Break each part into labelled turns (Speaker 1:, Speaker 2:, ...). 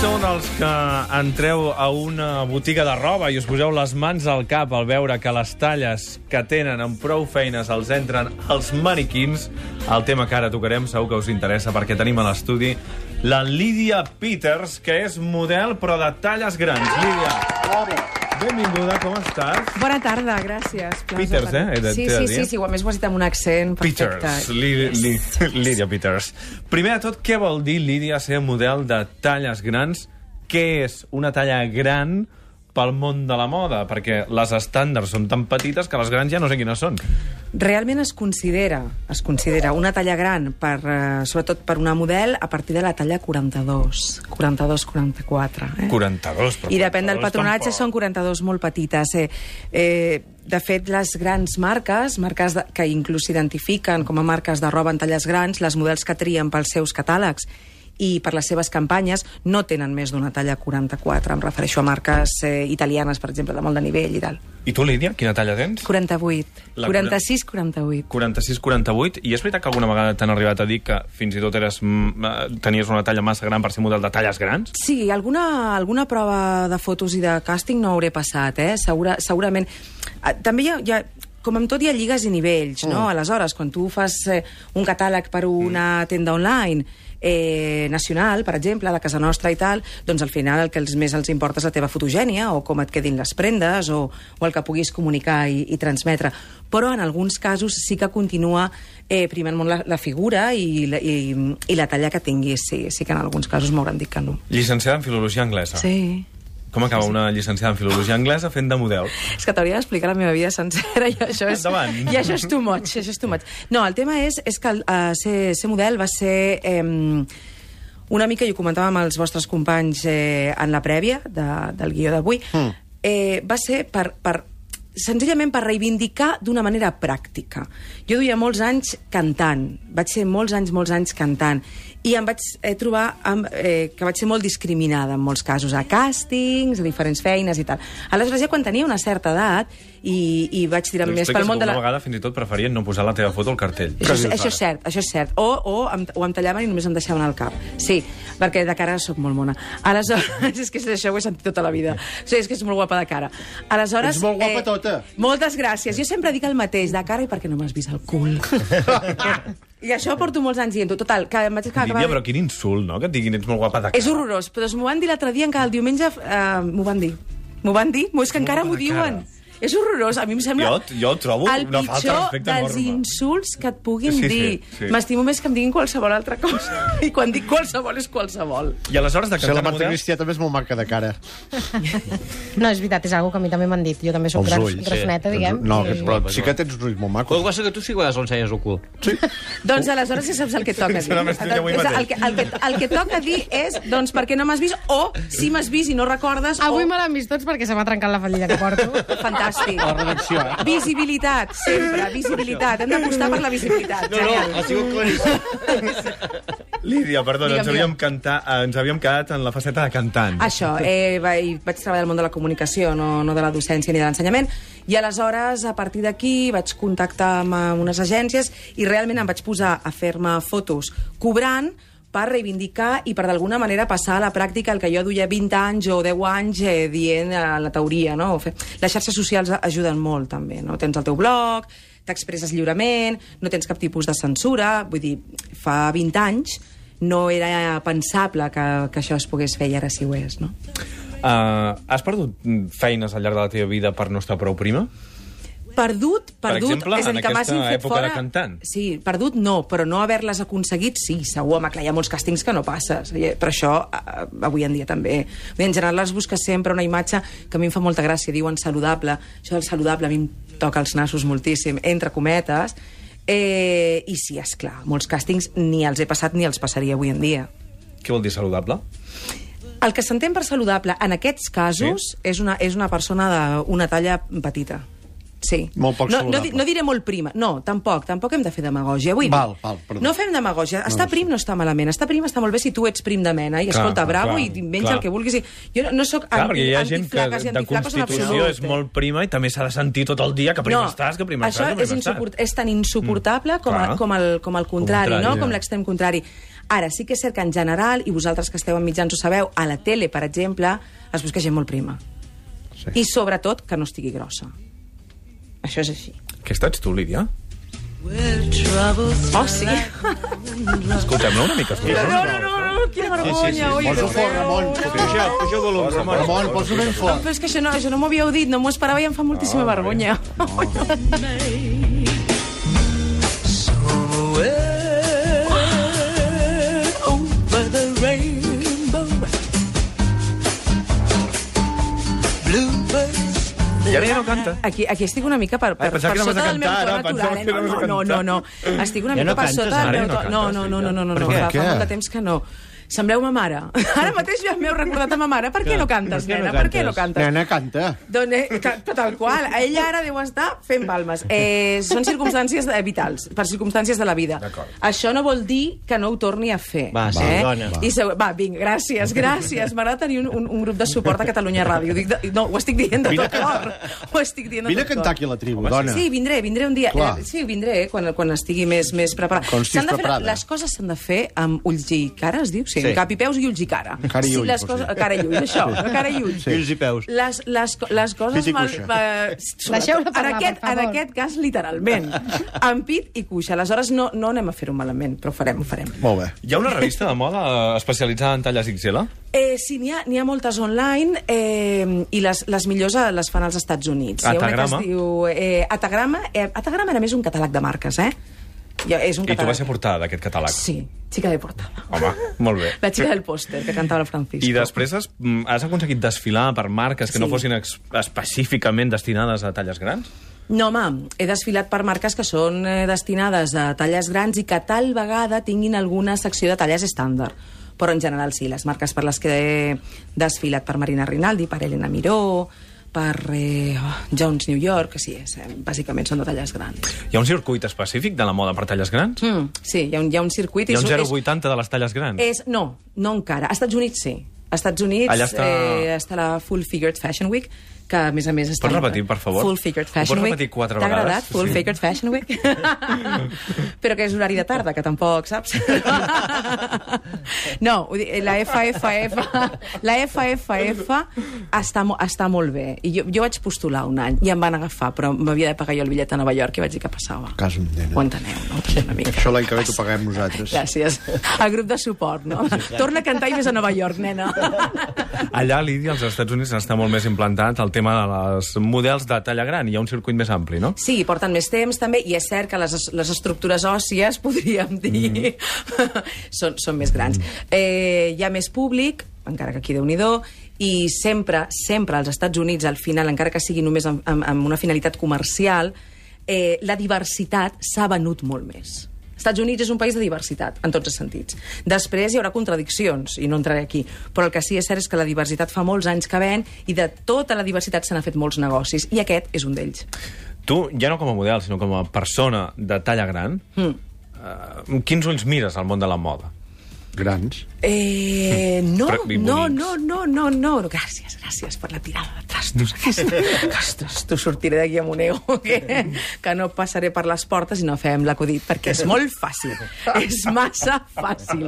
Speaker 1: són els que entreu a una botiga de roba i us poseu les mans al cap al veure que les talles que tenen amb prou feines els entren els maniquins? El tema que ara tocarem segur que us interessa perquè tenim a l'estudi la Lídia Peters, que és model però de talles grans. Lídia,
Speaker 2: Bravo.
Speaker 1: benvinguda, com estàs?
Speaker 3: Bona tarda, gràcies. Plaer
Speaker 1: Peters,
Speaker 3: parlar.
Speaker 1: eh? He de-
Speaker 3: Sí,
Speaker 1: t'he de
Speaker 3: sí,
Speaker 1: dir.
Speaker 3: sí, sí, ho- a més ho has dit amb un accent perfecte.
Speaker 1: Peters, Lí- Lí- Lídia Peters. Primer de tot, què vol dir, Lídia, ser model de talles grans? Què és una talla gran pel món de la moda? Perquè les estàndards són tan petites que les grans ja no sé quines són.
Speaker 3: Realment es considera, es considera una talla gran, per, eh, sobretot per una model, a partir de la talla 42, 42-44. Eh?
Speaker 1: 42, però...
Speaker 3: I depèn del
Speaker 1: 42
Speaker 3: patronatge,
Speaker 1: tampoc.
Speaker 3: són 42 molt petites. Eh? Eh, de fet, les grans marques, marques de, que inclús s'identifiquen com a marques de roba en talles grans, les models que trien pels seus catàlegs i per les seves campanyes no tenen més d'una talla 44. Em refereixo a marques eh, italianes, per exemple, de molt de nivell i tal.
Speaker 1: I tu, Lídia, quina talla tens?
Speaker 3: 48.
Speaker 1: La
Speaker 3: 46-48.
Speaker 1: 46-48, i és veritat que alguna vegada t'han arribat a dir que fins i tot eres, mm, eh, tenies una talla massa gran per ser model de talles grans?
Speaker 3: Sí, alguna, alguna prova de fotos i de càsting no hauré passat, eh? Segura, segurament. Ah, També hi ha, hi ha, com amb tot hi ha lligues i nivells, no? Aleshores, quan tu fas eh, un catàleg per una tenda online eh, nacional, per exemple, de casa nostra i tal, doncs al final el que els més els importa és la teva fotogènia o com et quedin les prendes o, o el que puguis comunicar i, i transmetre. Però en alguns casos sí que continua eh, primant molt la, la figura i, la- i, i la talla que tinguis. Sí, sí que en alguns casos m'hauran dit que no.
Speaker 1: Llicenciada en Filologia Anglesa.
Speaker 3: Sí.
Speaker 1: Com acaba una llicenciada en Filologia Anglesa fent de model?
Speaker 3: És que t'hauria d'explicar la meva vida sencera i això és,
Speaker 1: Endavant.
Speaker 3: i això és too much. Això és too much. No, el tema és, és que uh, ser, ser model va ser... Eh, una mica, i ho comentava amb els vostres companys eh, en la prèvia de, del guió d'avui, mm. eh, va ser per, per, senzillament per reivindicar d'una manera pràctica. Jo duia molts anys cantant, vaig ser molts anys, molts anys cantant, i em vaig eh, trobar amb, eh, que vaig ser molt discriminada en molts casos, a càstings, a diferents feines i tal. Aleshores, ja quan tenia una certa edat i, i vaig tirar
Speaker 1: Em
Speaker 3: més pel món de la...
Speaker 1: Una vegada fins i tot preferien no posar la teva foto al cartell.
Speaker 3: Això, és- això és cert, això és cert. O, o em, o em tallaven i només em deixaven al cap. Sí, perquè de cara sóc molt mona. Aleshores, és que això ho he sentit tota la vida. O sigui, és que és molt guapa de cara. Aleshores, eh,
Speaker 2: Ets molt guapa tota.
Speaker 3: Moltes gràcies. Jo sempre dic el mateix, de cara i perquè no m'has vist el cul. I això porto molts anys dient-ho. Total, que em vaig acabar...
Speaker 1: Lídia, però quin insult, no? Que et diguin ets molt guapa de cara.
Speaker 3: És horrorós, però doncs m'ho van dir l'altre dia, encara el diumenge eh, m'ho van dir. M'ho van dir, M'ho- és que encara m'ho
Speaker 1: de
Speaker 3: diuen. És horrorós, a mi em sembla...
Speaker 1: Jo- jo trobo
Speaker 3: el
Speaker 1: una falta de
Speaker 3: pitjor
Speaker 1: respecte
Speaker 3: dels
Speaker 1: enorme.
Speaker 3: insults que et puguin
Speaker 1: Sí, sí,
Speaker 3: dir.
Speaker 1: sí.
Speaker 3: M'estimo més que em diguin qualsevol altra cosa. I quan dic qualsevol és qualsevol.
Speaker 1: I aleshores de
Speaker 2: O sigui,
Speaker 1: cantar
Speaker 2: la Marta
Speaker 1: model...
Speaker 2: Cristià també és molt maca de cara.
Speaker 4: No, és veritat, és algo que a mi també m'han dit. Jo també soc
Speaker 2: Els
Speaker 4: graf,
Speaker 2: ulls.
Speaker 4: grafoneta,
Speaker 5: Doncs
Speaker 4: diguem.
Speaker 2: No,
Speaker 4: i-
Speaker 2: però sí que tens uns ulls molt
Speaker 5: Però el
Speaker 2: macos.
Speaker 5: que passa és que tu sí que a vegades ensenyes el cul.
Speaker 3: Doncs aleshores ja saps el que toca dir.
Speaker 1: Uh. Serà més trist avui
Speaker 3: És
Speaker 1: mateix.
Speaker 3: el, que, el, que, el que toca dir és doncs, per què no m'has vist o si m'has vist i no recordes
Speaker 4: Avui
Speaker 3: o...
Speaker 4: me l'han vist tots perquè se m'ha trencat la fallida que porto.
Speaker 3: Fantàstic.
Speaker 2: La redacció, eh?
Speaker 3: Visibilitat, sempre, visibilitat. Hem d'apostar per la visibilitat. Genial.
Speaker 5: ha sigut claríssim.
Speaker 1: Lídia, perdona, ens
Speaker 4: Digue'm,
Speaker 1: havíem, cantar, eh, ens havíem quedat en la faceta de cantant.
Speaker 3: Això, eh, vaig, vaig treballar al món de la comunicació, no, no de la docència ni de l'ensenyament, i aleshores, a partir d'aquí, vaig contactar amb, eh, unes agències i realment em vaig posar a fer-me fotos cobrant per reivindicar i per d'alguna manera passar a la pràctica el que jo duia 20 anys o 10 anys eh, dient eh, la teoria. No? O fer- Les xarxes socials ajuden molt també. No? Tens el teu blog, t'expresses lliurement, no tens cap tipus de censura, vull dir, fa 20 anys no era pensable que, que això es pogués fer i ara sí ho és, no?
Speaker 1: Uh, has perdut mm, feines al llarg de la teva vida per no estar prou prima?
Speaker 3: Perdut, perdut,
Speaker 1: exemple,
Speaker 3: és el
Speaker 1: en
Speaker 3: que m'has
Speaker 1: aquesta
Speaker 3: fet
Speaker 1: època
Speaker 3: fora...
Speaker 1: de cantant.
Speaker 3: Sí, perdut no, però no haver-les aconseguit, sí, segur, home, clar, hi ha molts càstings que no passes, i- però això eh, avui en dia també. Vull dir, En general es busca sempre una imatge que a mi em fa molta gràcia, diuen saludable, això del saludable a mi em toca els nassos moltíssim, entre cometes, eh, i sí, és clar, molts càstings ni els he passat ni els passaria avui en dia.
Speaker 1: Què vol dir saludable?
Speaker 3: El que s'entén per saludable en aquests casos sí? és, una, és una persona d'una talla petita. Sí.
Speaker 2: Molt poc
Speaker 3: no, no,
Speaker 2: saludable.
Speaker 3: di- no diré molt prima. No, tampoc. Tampoc hem de fer demagògia. Vull dir,
Speaker 2: Val, val, perdó.
Speaker 3: No fem demagògia. Estar prim no està malament. Estar prim està molt bé si tu ets prim de mena i
Speaker 1: Clar,
Speaker 3: escolta,
Speaker 1: clar,
Speaker 3: bravo,
Speaker 1: clar,
Speaker 3: i menja
Speaker 1: clar.
Speaker 3: el que vulguis. I jo no- no sóc
Speaker 1: Clar,
Speaker 3: anti,
Speaker 1: perquè hi ha gent que
Speaker 3: antiflaques i
Speaker 1: de
Speaker 3: antiflacos en
Speaker 1: constitució
Speaker 3: absolut.
Speaker 1: és molt prima i també s'ha de sentir tot el dia que prima estàs, que prima
Speaker 3: això
Speaker 1: estàs, que prima
Speaker 3: és,
Speaker 1: estàs.
Speaker 3: insuport, és tan insuportable com,
Speaker 1: Clar.
Speaker 3: a, com, el, com el contrari,
Speaker 1: contrari,
Speaker 3: no?
Speaker 1: ja.
Speaker 3: com l'extrem contrari. Ara, sí que és cert que en general, i vosaltres que esteu en mitjans ho sabeu, a la tele, per exemple, es busca gent molt prima.
Speaker 2: Sí.
Speaker 3: I sobretot que no estigui grossa. Això és així.
Speaker 1: Aquesta ets tu, Lídia?
Speaker 3: Oh, sí?
Speaker 1: Escoltem-la una mica.
Speaker 3: No,
Speaker 1: Escoltem
Speaker 3: no, no, no, no quina vergonya. Sí, sí, sí. Oi,
Speaker 2: Posa
Speaker 3: Déu
Speaker 2: fort,
Speaker 3: meu.
Speaker 2: Ramon.
Speaker 1: Puja, puja el volum, Ramon.
Speaker 2: Ramon, posa ben
Speaker 3: No,
Speaker 2: fort.
Speaker 3: però és que això no, això no m'ho havíeu dit, no m'ho esperava i em fa moltíssima vergonya.
Speaker 6: over the rainbow. Bluebirds
Speaker 1: I ara ja no canta.
Speaker 3: Aquí, aquí estic una mica per, per,
Speaker 1: Ah, pensava
Speaker 3: per
Speaker 1: que anaves
Speaker 3: sota
Speaker 1: a
Speaker 3: del meu
Speaker 1: cantar, ara,
Speaker 3: to natural.
Speaker 1: pensava
Speaker 3: Eh?
Speaker 1: que anaves a
Speaker 3: No, no, no, no. Estic una
Speaker 5: Ja
Speaker 3: mica
Speaker 5: no
Speaker 3: per
Speaker 5: cantes,
Speaker 3: sota
Speaker 5: ara
Speaker 3: del
Speaker 5: ja
Speaker 3: meu to.
Speaker 5: no
Speaker 3: No,
Speaker 1: cantes,
Speaker 3: no,
Speaker 1: sí,
Speaker 3: no, no,
Speaker 1: ja.
Speaker 3: no, no, no.
Speaker 2: Per
Speaker 3: Fa,
Speaker 2: què?
Speaker 3: fa molt de temps que no. Sembleu ma mare. Ara mateix ja m'heu recordat a ma mare. Per què no cantes,
Speaker 5: Per què no
Speaker 3: nena? Per què no cantes?
Speaker 5: cantes?
Speaker 2: Nena, canta.
Speaker 3: Doncs, eh, ca- tal qual. Ella ara deu estar fent palmes. Eh, són circumstàncies eh, vitals, per circumstàncies de la vida. Això no vol dir que no ho torni a fer.
Speaker 5: Va, sí,
Speaker 3: eh?
Speaker 5: dona.
Speaker 3: I segu... Va, vinga, gràcies, gràcies. M'agrada tenir un, un, un grup de suport a Catalunya Ràdio. Dic de... No, ho estic dient de
Speaker 2: Vine a
Speaker 3: tot cor. Ho estic dient de
Speaker 2: Vine a
Speaker 3: tot
Speaker 2: cantar
Speaker 3: cor.
Speaker 2: aquí a la tribu, dona.
Speaker 3: Sí, vindré, vindré un dia.
Speaker 2: Clar.
Speaker 3: Eh, sí, vindré eh, quan, quan estigui més, més preparada.
Speaker 2: Quan estiguis
Speaker 3: S'han de fer,
Speaker 2: preparada.
Speaker 3: les coses s'han de fer amb ulls i cara, es diu? Sí,
Speaker 5: Sí.
Speaker 3: sí. cap i peus i ulls i cara.
Speaker 2: Cara i
Speaker 3: sí,
Speaker 2: ull,
Speaker 3: les
Speaker 2: vols
Speaker 3: coses,
Speaker 2: dir.
Speaker 3: cara i ull, això, cara i ull.
Speaker 5: Fills i peus.
Speaker 3: Les, les, co- les coses...
Speaker 2: Pit i
Speaker 3: mal-
Speaker 2: cuixa.
Speaker 3: eh,
Speaker 4: Deixeu-la
Speaker 3: en,
Speaker 4: parlar,
Speaker 3: aquest,
Speaker 4: per favor.
Speaker 3: en aquest cas, literalment. Amb pit i cuixa. Aleshores, no, no anem a fer-ho malament, però ho farem, ho farem.
Speaker 2: Molt bé.
Speaker 1: Hi ha una revista de moda eh, especialitzada en talles XL?
Speaker 3: Eh, sí, n'hi ha, n'hi ha moltes online eh, i les, les millors eh, les fan als Estats Units. Hi ha una
Speaker 1: Atagrama?
Speaker 3: que es diu... Eh, Atagrama, eh, Atagrama era més un catàleg de marques, eh? Ja, és un
Speaker 1: I tu
Speaker 3: catàleg.
Speaker 1: vas ser portada d'aquest catàleg.
Speaker 3: Sí, xica de portada.
Speaker 1: Home, molt bé.
Speaker 3: La xica del pòster, que cantava el Francisco.
Speaker 1: I després has, mm, has aconseguit desfilar per marques que no
Speaker 3: Sí.
Speaker 1: fossin ex específicament destinades a talles grans?
Speaker 3: No, home, he desfilat per marques que són eh, destinades a talles grans i que tal vegada tinguin alguna secció de talles estàndard. Però en general sí, les marques per les que he desfilat per Marina Rinaldi, per Elena Miró, per eh, oh, Jones New York, sí, és, eh, bàsicament són de talles grans.
Speaker 1: Hi ha un circuit específic de la moda per talles grans?
Speaker 3: Mm, sí, hi ha un, hi ha un circuit...
Speaker 1: Hi
Speaker 3: i
Speaker 1: ha un
Speaker 3: és- és-
Speaker 1: 0,80 de les talles grans?
Speaker 3: És, no, no encara. Als Estats Units sí. Als Estats Units
Speaker 1: Allà està-
Speaker 3: eh, està la Full Figured Fashion Week, que a més a més està...
Speaker 1: Pots repetir, per favor?
Speaker 3: Full Figured
Speaker 1: Ho
Speaker 3: Fashion
Speaker 1: pots
Speaker 3: Week.
Speaker 1: repetir quatre
Speaker 3: T'ha
Speaker 1: vegades?
Speaker 3: agradat, Full
Speaker 1: Sí.
Speaker 3: Figured Fashion Week? Però que és horari de tarda, que tampoc, saps? no, ho di- la FFF, la FFF està, mo- està molt bé. I jo, jo vaig postular un any i em van agafar, però m'havia de pagar jo el bitllet a Nova York i vaig dir que passava.
Speaker 2: Casa'm, nena.
Speaker 3: Ho enteneu, no? També Una mica.
Speaker 2: Això l'any que ve t'ho paguem nosaltres.
Speaker 3: Gràcies. El grup de suport, no? Torna a cantar i més a Nova York, nena.
Speaker 1: Allà, Lídia, als Estats Units està molt més implantat el tema de les models de talla gran. Hi ha un circuit més ampli, no?
Speaker 3: Sí, porten més temps també, i és cert que les, les estructures òssies, podríem dir, són, són més grans. Eh, hi ha més públic, encara que aquí déu nhi i sempre, sempre als Estats Units, al final, encara que sigui només amb, amb, amb una finalitat comercial, eh, la diversitat s'ha venut molt més. Estats Units és un país de diversitat, en tots els sentits. Després hi haurà contradiccions, i no entraré aquí, però el que sí que és cert és que la diversitat fa molts anys que ven i de tota la diversitat se n'ha fet molts negocis, i aquest és un d'ells.
Speaker 1: Tu, ja no com a model, sinó com a persona de talla gran, mm. uh, quins ulls mires al món de la moda?
Speaker 2: Grans.
Speaker 3: Eh, no,
Speaker 1: Però, i
Speaker 3: no,
Speaker 1: bonics.
Speaker 3: no, no, no, no. Gràcies, gràcies per la tirada de trastos aquesta. Que, Ostres, tu sortiré d'aquí amb un ego que, que no passaré per les portes i no fem l'acudit, perquè és molt fàcil. És massa fàcil.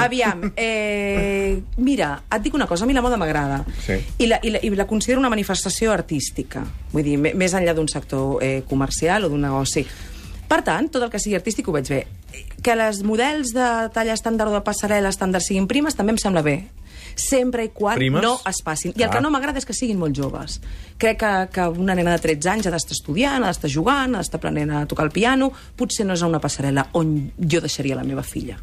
Speaker 3: Aviam, eh, mira, et dic una cosa, a mi la moda m'agrada.
Speaker 1: Sí.
Speaker 3: I la, i, la, I la considero una manifestació artística. Vull dir, me- més enllà d'un sector eh, comercial o d'un negoci. Per tant, tot el que sigui artístic ho veig bé. Que les models de talla estàndard o de passarel·la estàndard siguin primes també em sembla bé. Sempre i quan
Speaker 1: Primes?
Speaker 3: no es passin. I el
Speaker 1: Clar.
Speaker 3: que no m'agrada és que siguin molt joves. Crec que, que una nena de 13 anys ha d'estar estudiant, ha d'estar jugant, ha d'estar aprenent a tocar el piano. Potser no és a una passarel·la on jo deixaria la meva filla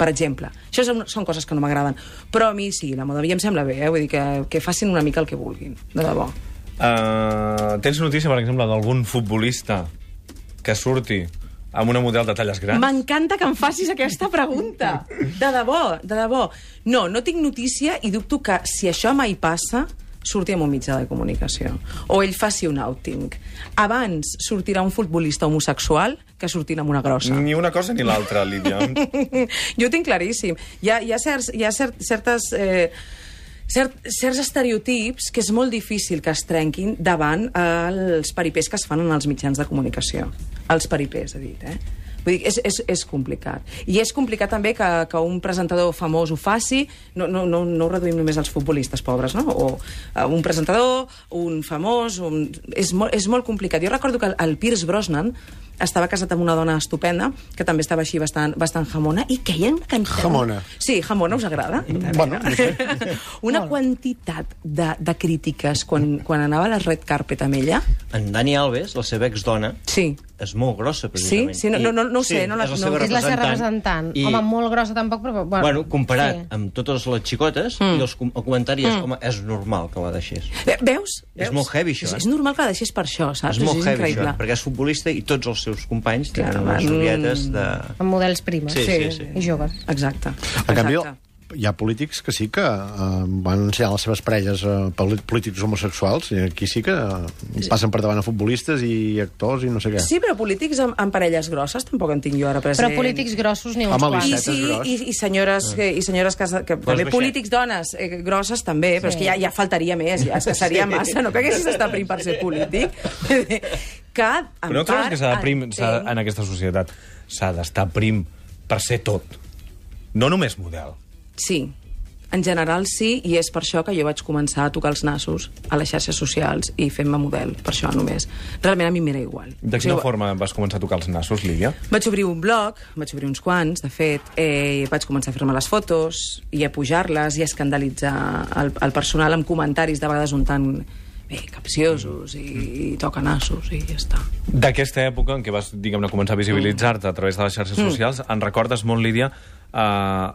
Speaker 3: per exemple. Això són, són coses que no m'agraden. Però a mi sí, la moda a mi em sembla bé, eh? vull dir que, que facin una mica el que vulguin, de debò.
Speaker 1: Uh, tens notícia, per exemple, d'algun futbolista que surti amb una model de talles grans?
Speaker 3: M'encanta que em facis aquesta pregunta. De debò, de debò. No, no tinc notícia i dubto que si això mai passa, surti amb un mitjà de comunicació. O ell faci un outing. Abans sortirà un futbolista homosexual que sortirà amb una grossa.
Speaker 1: Ni una cosa ni l'altra, Lídia.
Speaker 3: jo ho tinc claríssim. Hi ha, hi ha, certs, hi ha cert, certes... Eh, Cert, certs estereotips que és molt difícil que es trenquin davant els peripers que es fan en els mitjans de comunicació. Els peripers, he dit, eh? Vull dir, és, és, és complicat. I és complicat també que, que un presentador famós ho faci, no, no, no, no ho reduïm només als futbolistes pobres, no? O eh, un presentador, un famós... Un... És, molt, és molt complicat. Jo recordo que el Pierce Brosnan estava casat amb una dona estupenda, que també estava així bastant, bastant jamona, i queia una quantitat...
Speaker 2: Jamona.
Speaker 3: Sí, jamona, us agrada?
Speaker 5: Mm,
Speaker 2: Bueno, no sé.
Speaker 3: Una quantitat de, de crítiques quan, quan anava a la red carpet amb ella.
Speaker 5: En Dani Alves, la seva exdona,
Speaker 3: Sí.
Speaker 5: és molt grossa,
Speaker 3: Sí?
Speaker 5: precisament.
Speaker 3: Sí, no- no- no- no ho sé,
Speaker 5: sí,
Speaker 3: no la-
Speaker 5: és la
Speaker 3: no-
Speaker 5: seva
Speaker 4: És la seva representant. I... Home, molt grossa tampoc, però... Bueno,
Speaker 5: Bueno, comparat sí. amb totes les xicotes mm. i els com el comentari és, mm. home, és normal que la deixés.
Speaker 3: Ve- Eh, Veus?
Speaker 5: És
Speaker 3: Veus?
Speaker 5: molt heavy, això,
Speaker 3: És,
Speaker 5: eh?
Speaker 3: és normal que la deixis per això, saps?
Speaker 5: És molt heavy,
Speaker 3: Ah, increïble.
Speaker 5: això, eh, perquè és futbolista i tots els seus companys
Speaker 3: Clar,
Speaker 5: tenen unes
Speaker 3: home.
Speaker 5: orietes de...
Speaker 4: Amb models primes.
Speaker 5: Sí, sí, sí.
Speaker 4: I joves.
Speaker 3: Exacte.
Speaker 2: En canvi,
Speaker 3: exacte.
Speaker 2: hi ha polítics que sí que eh, van ensenyar les seves parelles eh, poli- polítics homosexuals, i aquí sí que eh, passen per davant a futbolistes i actors i no sé què.
Speaker 3: Sí, però polítics amb, amb parelles grosses tampoc en tinc jo ara present.
Speaker 4: Però polítics grossos n'hi ha uns
Speaker 2: Home,
Speaker 4: quants.
Speaker 3: I,
Speaker 2: Set és
Speaker 3: sí,
Speaker 2: gros.
Speaker 3: i, i senyores, que, i senyores que, que
Speaker 1: Doncs
Speaker 3: també,
Speaker 5: baixet.
Speaker 3: polítics dones eh, grosses també, però és que ja, ja faltaria més, ja, és que seria massa, no que haguessis d'estar prim per ser polític. que, en
Speaker 1: Però no trobes
Speaker 3: part,
Speaker 1: que s'ha de prim,
Speaker 3: entenc-
Speaker 1: s'ha- en aquesta societat, s'ha d'estar prim per ser tot. No només model.
Speaker 3: Sí, en general sí, i és per això que jo vaig començar a tocar els nassos a les xarxes socials i fent-me model, per això només. Realment a mi m'era igual.
Speaker 1: De
Speaker 3: O
Speaker 1: quina
Speaker 3: sigui,
Speaker 1: forma vas començar a tocar els nassos, Lídia?
Speaker 3: Vaig obrir un blog, vaig obrir uns quants, de fet, eh, vaig començar a fer-me les fotos i a pujar-les i a escandalitzar el, el personal amb comentaris de vegades un tant bé, capciosos i, i toca nassos i ja està.
Speaker 1: D'aquesta època en què vas, diguem-ne, començar a visibilitzar-te a través de les
Speaker 3: Mm.
Speaker 1: xarxes socials, en recordes molt, Lídia, eh,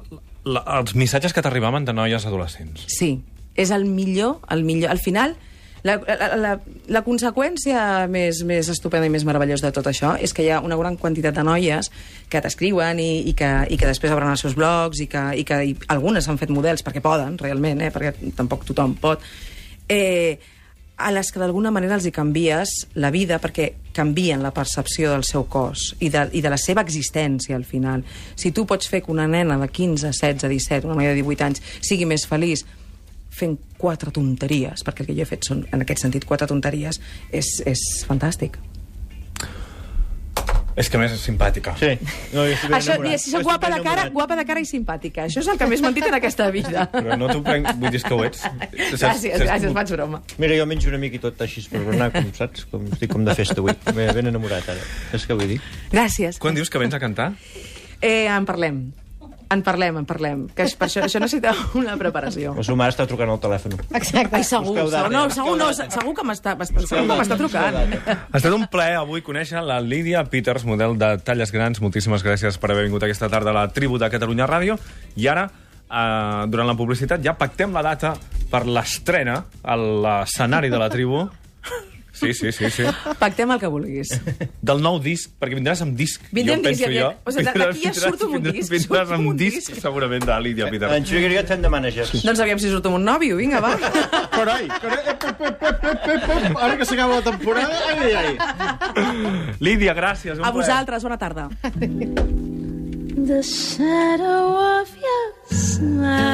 Speaker 1: la, els missatges que t'arribaven de noies adolescents.
Speaker 3: Sí, és el millor, el millor. Al final, la, la, la, la conseqüència més, més estupenda i més meravellosa de tot això és que hi ha una gran quantitat de noies que t'escriuen i, i, que, i que després obren els seus blogs i que, i que i algunes han fet models perquè poden, realment, eh, perquè tampoc tothom pot, eh, a les que d'alguna manera els hi canvies la vida perquè canvien la percepció del seu cos i de, i de la seva existència al final. Si tu pots fer que una nena de 15, 16, 17, una noia de 18 anys sigui més feliç fent quatre tonteries, perquè el que jo he fet són, en aquest sentit, quatre tonteries, és, és fantàstic.
Speaker 1: És que a més és simpàtica.
Speaker 5: Sí.
Speaker 1: No, jo estic
Speaker 3: Això,
Speaker 1: enamorat.
Speaker 3: mira, si sóc guapa de cara, guapa de cara i simpàtica. Això és el que més m'han dit en aquesta vida.
Speaker 1: Però no t'ho prenc, vull dir és que ho ets. Saps-
Speaker 3: Gràcies,
Speaker 1: saps-
Speaker 3: gràcies, faig broma.
Speaker 5: Mira, jo menjo una mica i tot així per berenar, com saps? Com, estic com de festa avui. M'he ben enamorat ara. És que vull dir.
Speaker 3: Gràcies.
Speaker 1: Quan dius que vens a cantar?
Speaker 3: Eh, en parlem. En parlem, en parlem. Que és, per això, això necessita una preparació.
Speaker 5: La seva mare està trucant al telèfon.
Speaker 4: Exacte.
Speaker 3: Ai, segur,
Speaker 5: Busqueu
Speaker 3: segur,
Speaker 5: dades,
Speaker 3: no,
Speaker 5: busqueu
Speaker 3: segur, no,
Speaker 5: dades.
Speaker 3: segur que m'està segur que m'està trucant.
Speaker 1: Ha estat un plaer avui conèixer la Lídia Peters, model de Talles Grans. Moltíssimes gràcies per haver vingut aquesta tarda a la tribu de Catalunya Ràdio. I ara, eh, durant la publicitat, ja pactem la data per l'estrena a l'escenari de la tribu. Sí, sí, sí, sí.
Speaker 3: Pactem el que vulguis.
Speaker 1: Del nou disc, perquè vindràs amb disc,
Speaker 3: Vindré
Speaker 1: jo
Speaker 3: amb disc,
Speaker 1: penso
Speaker 3: ja, ja.
Speaker 1: jo.
Speaker 3: O sigui, d'aquí ja surto amb un
Speaker 1: vindràs-
Speaker 3: disc,
Speaker 1: Vindràs
Speaker 3: surto amb
Speaker 1: amb
Speaker 3: un
Speaker 1: disc,
Speaker 3: disc.
Speaker 1: segurament, de la Lídia Peters.
Speaker 5: En Xavier i jo t'hem de managers.
Speaker 3: Doncs aviam si surto amb un nòvio, vinga, va.
Speaker 2: Carai, carai, ep, ep, ep, ep, ep, ep, ep, ara que s'acaba la temporada, ai, ai, ai.
Speaker 1: Lídia, gràcies. un
Speaker 3: A
Speaker 1: plaer.
Speaker 3: vosaltres, bona tarda.
Speaker 7: The shadow of your smile.